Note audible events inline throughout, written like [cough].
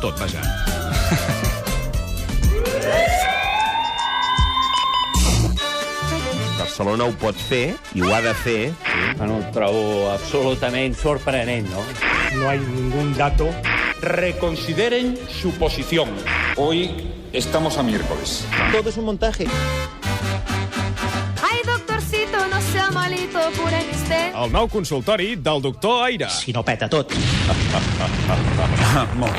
tot, vaja. Barcelona ho pot fer i ho ha de fer. Bueno, ho trobo Ah, absolutament sorprenent, no? No hay ningún dato. Reconsideren su posición. Hoy estamos a miércoles. Todo es un montaje. Ay, doctorcito, no sea malito, curen usted. El nou consultori del doctor Aire. Si no peta [laughs] tot.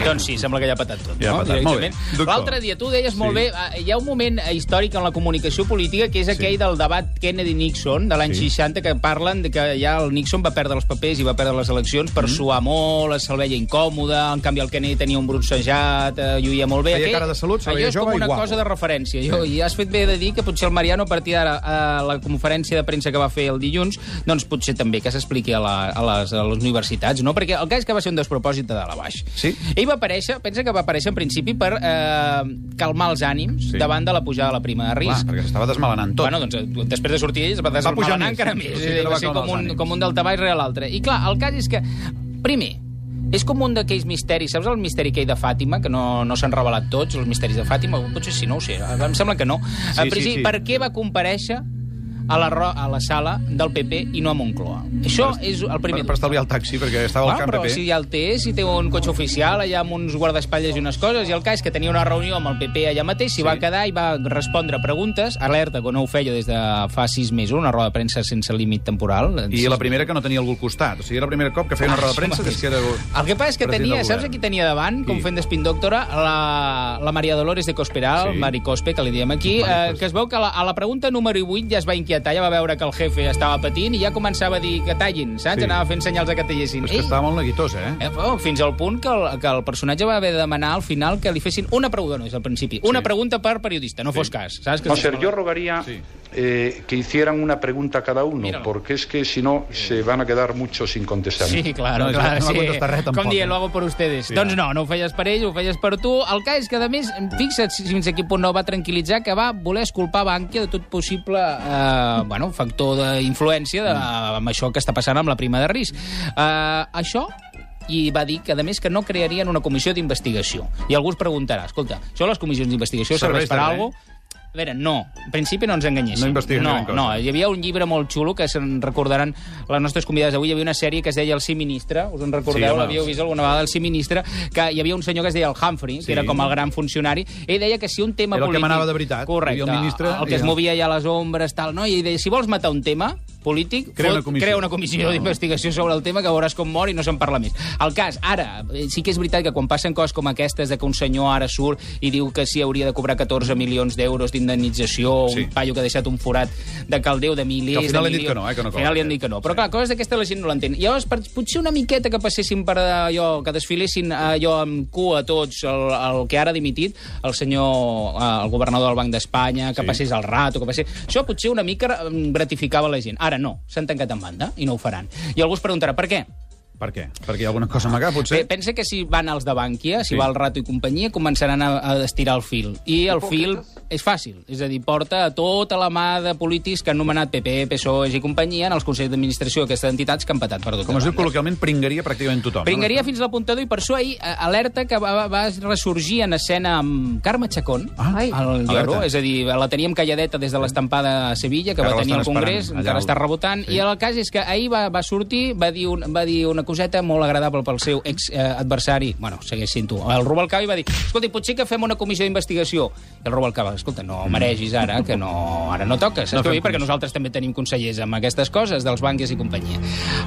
Doncs sí, sembla que ja ha patat tot. Ja ha no? patat, molt bé. Directament. Doctor. L'altre dia, tu deies molt bé, eh, hi ha un moment eh, històric en la comunicació política que és aquell del debat Kennedy-Nixon de l'any 60, que parlen de que ja el Nixon va perdre els papers i va perdre les eleccions per Mm-hmm. suar molt, es se'l veia incòmode, en canvi el Kennedy tenia un broncejat, eh, lluïa molt bé. Feia Aquell- cara de salut, se veia allò és jove com i una guapo. cosa de referència. Jo, I has fet bé de dir que potser el Mariano, a partir d'ara, a la conferència de premsa que va fer el dilluns, doncs potser també que s'expliqui a, la, a, les, a les universitats, no? Perquè el cas és que va ser un despropòsit de dalt a baix. Sí. Ell va aparèixer, pensa que va aparèixer en principi per eh, calmar els ànims sí. davant de la pujada de la prima de Clar, risc. perquè s'estava desmalenant tot. Bueno, doncs, eh, després de sortir ell es va desarmar pujar va més. encara més. Sí, Sí, sí, que va va ser calmar com els un, ànims. com un daltabaix real l'altre. I clar, el cas és que, primer, és com un d'aquells misteris, saps el misteri aquell de Fàtima, que no, no s'han revelat tots, els misteris de Fàtima? Potser sí, no ho sé, em sembla que no. Eh, Sí, sí, principi, sí. Per què va compareixer a la, ro- a la sala del PP i no a Moncloa? Això és el primer Per, per estalviar el taxi, perquè estava al Ah, camp però PP. si ja el té, si té un cotxe oficial allà amb uns guardaespatlles i unes coses, i el cas és que tenia una reunió amb el PP allà mateix, s'hi sí. va quedar i va respondre preguntes, alerta, que no ho feia des de fa sis mesos, una roda de premsa sense límit temporal. I la primera que no tenia algú al costat. O sigui, era el primer cop que feia una roda de [laughs] premsa des que era... El que passa és que president tenia, del saps govern. qui tenia davant, com Qui? fent d'espin doctora, la, la Maria Dolores de Cospedal, sí. Sí. Mari Cospe, que li diem aquí, eh, que es veu que a la, a la pregunta número 8 ja es va inquietar, ja va veure que el jefe estava patint i ja començava a dir que tallin, saps? Sí. Sí. Anava fent senyals de que tallessin. És que Ei, estava molt neguitosa, eh? Eh, però fins al punt que el, que el personatge va haver de demanar al final que li fessin una pregunta, no, des del principi, una pregunta per periodista, no fos cas. Saps que O sea, yo rogaría Sí. eh, que hicieran una pregunta a cada uno, Míralo. porque es que si no se van a quedar muchos sin contestar. Eh. Sí, claro, No, és que clar, no va sí. contestar res, tampoc, Com dient, eh? lo hago por ustedes. Sí, doncs no, no ho feies per ell, ho feies per tu. El cas és que, a més, fixa't si fins a quin punt no va tranquil·litzar, que va voler esculpar Bànquia de tot possible eh, bueno, factor d'influència de, amb això que està passant amb la prima de risc. Eh, això i va dir que, a més, que no crearien una comissió d'investigació. I algú es preguntarà, escolta, això les comissions d'investigació serveix, Serveix per de a res? alguna a veure, no. En principi no ens enganyéssim. No investiguen no, gran cosa. no, hi havia un llibre molt xulo que se'n recordaran les nostres convidades d'avui. Hi havia una sèrie que es deia El sí ministre. Us en Sí, recordeu? home. L'havíeu vist alguna vegada, El sí ministre? Que hi havia un senyor que es deia el Humphrey, sí. que era com el gran funcionari. Ell deia que si un tema Era el que polític... manava de veritat. Correcte. Ah, Hi havia un ministre el que i es ja. movia allà a les ombres, tal, no? I ell deia, si vols matar un tema polític, Crea una fot- comissió. crea una comissió d'investigació sobre el tema que veuràs com mor i no se'n parla més. El cas, ara, eh, sí que és veritat que quan passen coses com aquestes de que un senyor ara surt i diu que sí hauria de cobrar 14 milions d'euros d'indemnització, sí. Sí. un paio que ha deixat un forat de caldeu de milers... Que al final de li han dit milions. que no, eh, que no Al final cobra. li han dit que no. Però clar, coses d'aquesta la gent no l'entén. Llavors, per, potser una miqueta que passessin per allò, que desfilessin allò amb cua tots, el, el que ara ha dimitit, el senyor, eh, el governador del Banc d'Espanya, que sí. passés el rato, que passés... Això potser una mica mm, gratificava la gent. Ara no, s'han tancat en banda i no ho faran. I algú es preguntarà, per què? Per què? Perquè hi ha alguna cosa amagada, potser? Pe- Pensa que si van els de Bànquia, si Sí. va el Rato i companyia, començaran a, a estirar el fil. I el fil és fàcil. És a dir, porta a tota la mà de polítics que han nomenat PP, PSOE E, i companyia en els consells d'administració d'aquestes entitats que han patat per tot. Com es diu col·loquialment, pringaria pràcticament tothom. Pringaria fins a l'apuntador i per això ahir eh, alerta que va, va ressorgir en escena amb Carme Chacón, Ah, al el lloro, alerta. és a dir, la teníem calladeta des de l'estampada a Sevilla, que va Encara tenir al l'estan Congrés, esperant, encara allà al- està rebotant, sí. i el cas és que ahir va, va sortir, va dir, un, va dir una coseta molt agradable pel seu ex-adversari, bueno, segueix sent-ho, el Rubalcaba, i va dir, escolta, potser que fem una comissió d'investigació. I el Rubalcaba, escolta, no maregis ara, que no, ara no toca, saps No no què vull fem dir? Perquè nosaltres també tenim consellers amb aquestes coses, dels banques i companyia.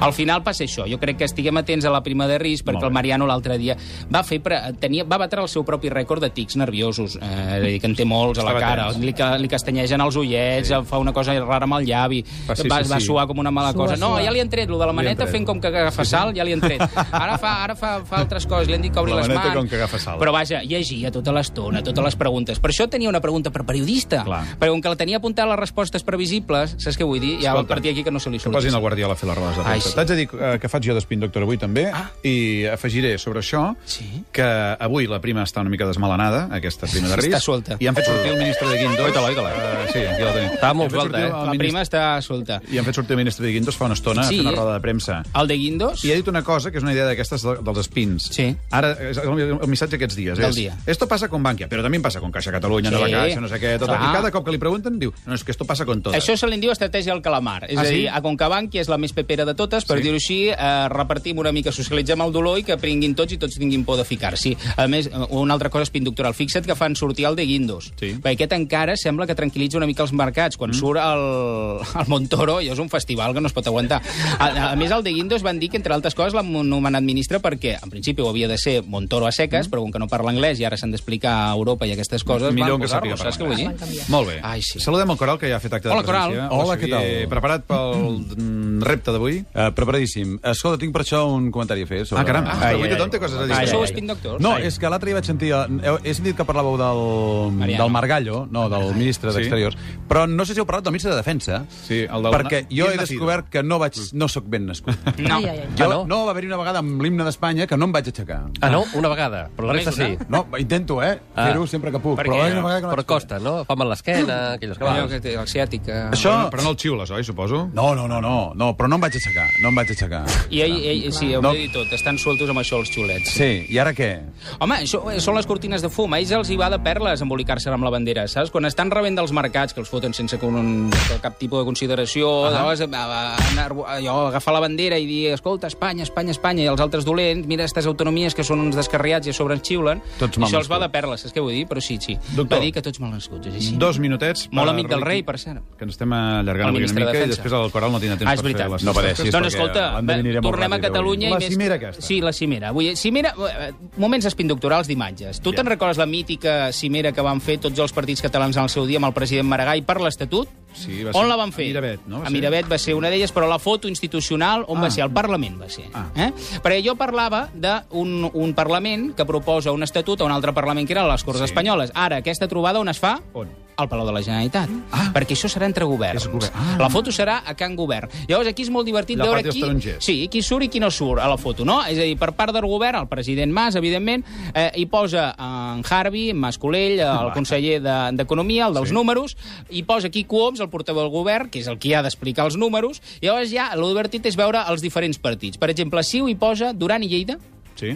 Al final passa això, jo crec que estiguem atents a la prima de risc, perquè el Mariano l'altre dia va fer pre... tenia, va batre el seu propi rècord de tics nerviosos, eh, és a dir, que en té molts a la Estava cara, tens. li, ca- li castanyegen els ullets, sí. fa una cosa rara amb el llavi, va, Va, Ah, sí, sí, va, sí, va sí. suar com una mala Sua, cosa. No, sua. ja li han tret, lo de la han maneta tret. fent com que agafa sal, ja li han [laughs] tret. Ara fa, ara fa, fa altres coses, li han dit que obri La les maneta mans. com que agafa sal. Però vaja, llegia tota l'estona, totes les preguntes. Per això tenia una pregunta per periodista, Clar. perquè com que la tenia apuntada a les respostes previsibles, saps què vull dir? Ja va Escolta, partir aquí que no se li Que surt. posin el Guardiola a fer les rodes de Ai, premsa. sí. T'haig de dir eh, que faig jo d'espin doctor avui també, Ah. i afegiré sobre això Sí. que avui la prima està una mica desmalanada, aquesta prima de risc. [laughs] Està suelta. I han fet sortir el ministre de Guindos. Oita-la, oita-la. Uh, sí, aquí la tenim. Estava molt I han fet suelta, sortir eh? el La ministre- prima està solta. I han fet sortir el ministre de Guindos fa una estona Sí. sí. a fer una roda de premsa. El de Guindos? I ha dit una cosa, que és una idea d'aquestes de- dels espins. Sí. Ara, és el el missatge aquests dies Del és... dia. Esto pasa con Bankia, però també em passa con Caixa Catalunya, Sí. sí. Nova Caixa, no sé què... Tot, Clar. I cada cop que li pregunten, diu, no, és que esto pasa con todas. Això se li en diu estratègia al calamar. És tota. Ah, a sí? dir, a Concabanc, que és la més pepera de totes, per Sí. dir-ho així, eh, repartim una mica, socialitzem el dolor i que pringuin tots i tots tinguin por de ficar-s'hi. A més, eh, una altra cosa és pinductoral. Fixa't que fan sortir el de Guindos. Sí. Perquè aquest encara sembla que tranquil·litza una mica els mercats. Quan mm. surt el, el Montoro, allò és un festival que no es pot aguantar. A, a més, el de Guindos van dir que, entre altres coses, l'han nomenat ministre perquè, en principi, ho havia de ser Montoro a seques, mm. però com que no parla anglès i ara s'han d'explicar a Europa i aquestes coses, Millor van que sàpiga posar-lo, saps què parlar vull dir? Molt bé. Ai, sí. Saludem el Coral, que ja ha fet acte Hola, de Coral. presència. Hola, Xavier, què tal? Preparat pel mm, repte d'avui? Uh, preparadíssim. Escolta, tinc per això un comentari a fer. Sobre... Ah, caram, Ai, ah, avui ai, tothom té ai. coses a dir. Ai, sou Ai, els Pink Doctors? No, és que l'altre dia vaig sentir... Heu, he sentit que parlàveu del, Mariano. del Margallo, no, del ministre Sí. d'Exteriors, però no sé si heu parlat del ministre de Defensa, Sí, el del- perquè jo Bien he nacido. descobert que no, vaig, no sóc ben nascut. Ah, eh, No. Ai, ai, ai. Jo, no, va haver-hi una vegada amb l'himne d'Espanya que no em vaig aixecar. Ah, no? Una vegada, però la Només resta sí. una? No, intento, eh? Ah. Fer-ho sempre que puc. Per Però què? va haver-hi una vegada que no Però vaig costa, no? Fa mal l'esquena, aquelles Allò coses. que té l'axiàtica... Això... Però no el xiules, oi, suposo? No, no, no, no, no, però no em vaig aixecar, no em vaig aixecar. I ell, ell, sí, ho No. no. he dit tot, estan sueltos amb això els xulets. Sí, i ara què? Home, això eh, són les cortines de fum. A ells els hi va de perles embolicar-se amb la bandera, saps? Quan estan rebent dels mercats, que els foten sense con un, cap tipus de consideració, uh -huh. llavors, a, a, anar, allò, agafar la bandera i dir, escolta, Espanya, Espanya, Espanya, i els altres dolents, mira aquestes autonomies que són uns descarriats i a sobre ens xiulen. Tots I mal això els va de nascuts. perles, saps què vull dir? Però sí, sí. Doctor. Va dir que tots mal nascuts, és així. Dos minutets. Molt per amic del Ricky, rei, per cert. Que ens estem allargant El avui una ministre de mica i Defensa. després el Coral no tindrà temps Ah, és per fer veritat. les nostres No pateixis, coses. Doncs perquè escolta, em va, definiré molt tornem a ràpid, Catalunya. avui. La i més... cimera aquesta. Sí, la cimera. Vull dir, cimera, eh, moments espinductorals d'imatges. Tu te'n recordes la mítica cimera que van fer tots els partits catalans en el seu dia amb el president Maragall per l'Estatut? Sí, va ser on la van a fer? Miravet, no? Va A ser. Miravet va ser una d'elles, però la foto institucional on Ah. va ser? Al Parlament va ser. Ah. Eh? Perquè jo parlava d'un un Parlament que proposa un estatut a un altre Parlament que era les Corts Sí. sí. Espanyoles. Ara, aquesta trobada on es fa? On? Al Palau de la Generalitat. Ah. Perquè això serà entre governs. És govern. Ah. La foto serà a Can Govern. Llavors, aquí és molt divertit La veure part dels qui... tarongers. Sí, qui surt i qui no surt a la foto, no? És a dir, per part del govern, el president Mas, evidentment, eh, hi posa en Harvey, en Mascolell, el conseller de- d'Economia, de, el dels sí. números, hi posa Quico Oms, el portaveu del govern, que és el qui ha d'explicar els números, i llavors ja el divertit és veure els diferents partits. Per exemple, Ciu hi posa Duran i Lleida, Sí.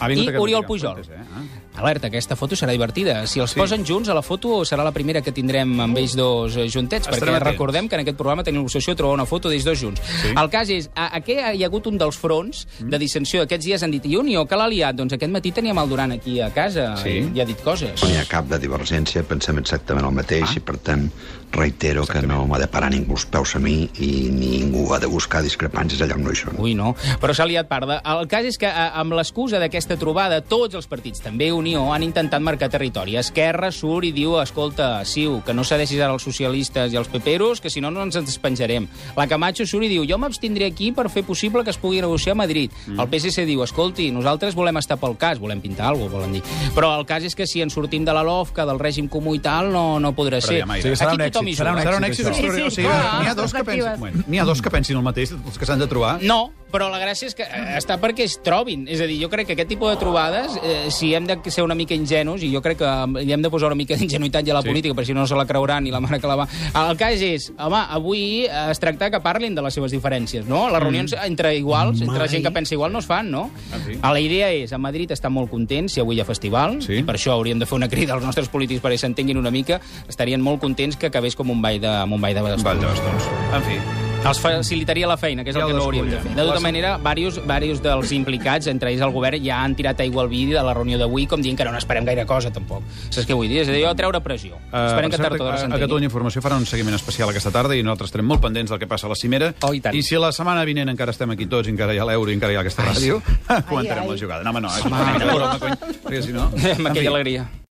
Ha vingut I aquest Oriol dia, Pujol. antes, eh? Ah. Alerta, aquesta foto serà divertida. Si els sí. posen junts a la foto, serà la primera que tindrem amb ells dos eh, juntets, Estarem perquè atents. recordem que en aquest programa tenim l'obsessió de trobar una foto d'ells dos junts. Sí. El cas és, a, aquí hi ha hagut un dels fronts Mm. de dissensió. Aquests dies han dit, i Unió, que l'ha liat. Doncs aquest matí teníem el Duran aquí a casa Sí. i, i ha dit coses. No n'hi ha cap de divergència, pensem exactament el mateix ah. i per tant reitero exactament. que no m'ha de parar ningú els peus a mi i ningú ha de buscar discrepàncies allà on no hi són. Ui, no. Però s'ha liat parda. El cas és que, eh, amb l'excusa d'aquesta trobada, tots els partits, també Unió, han intentat marcar territori. Esquerra surt i diu, escolta, Siu, que no cedeixis ara als socialistes i als peperos, que si no, no ens ens penjarem. La Camacho surt i diu, jo m'abstindré aquí per fer possible que es pugui negociar a Madrid. Mm. El PSC diu, escolti, nosaltres volem estar pel cas, volem pintar alguna cosa, volen dir. Però el cas és que si ens sortim de la LOFCA, del règim comú i tal, no, no podrà Però ser. ja mai. O sigui, serà aquí un tothom hi èxit, serà juga. un Serà un èxit, èxit això. Sí, extraordinari. sí, o sigui, clar. n'hi ha dos que pensin... Perspectives. Bueno, n'hi ha dos que pensin el mateix, els que s'han de trobar. No, però la gràcia és que eh, està perquè es trobin. És a dir, jo crec que aquest tipus de trobades, eh, si hem de ser una mica ingenus, i jo crec que eh, hi hem de posar una mica d'ingenuïtat ja a la Sí. sí. política, perquè si no no se la creuran ni la mare que la va... El cas és, home, avui eh, es tracta que parlin de les seves diferències, no? Mm. Les reunions entre iguals, entre la gent que pensa igual, no es fan, no? sí. Ah, La idea és, a Madrid estan molt contents si avui hi ha festival, Sí. sí. i per això hauríem de fer una crida als nostres polítics perquè s'entenguin una mica, estarien molt contents que acabés com un ball de, amb un ball de Val, llavors, doncs. En fi, els facilitaria la feina, que és Ja el que ho no hauríem de fer. descobrirem. De La- tota manera, varios, varios dels implicats, entre ells el govern, ja han tirat aigua al vídeo de la reunió d'avui, com dient que no n'esperem gaire cosa, tampoc. Saps què vull dir? És a dir, jo a treure pressió. Eh, Esperem per que tard o d'hora a- A s'entengui. Catalunya Informació farà un seguiment especial aquesta tarda i nosaltres estarem molt pendents del que passa a la cimera. Oh, i tant. si la setmana vinent encara estem aquí tots, i encara hi ha l'euro i encara hi ha aquesta ràdio, [laughs] comentarem ai. la jugada. No, home, no, és una mica de broma, cony, perquè si no... [laughs] Amb En fi, aquella alegria.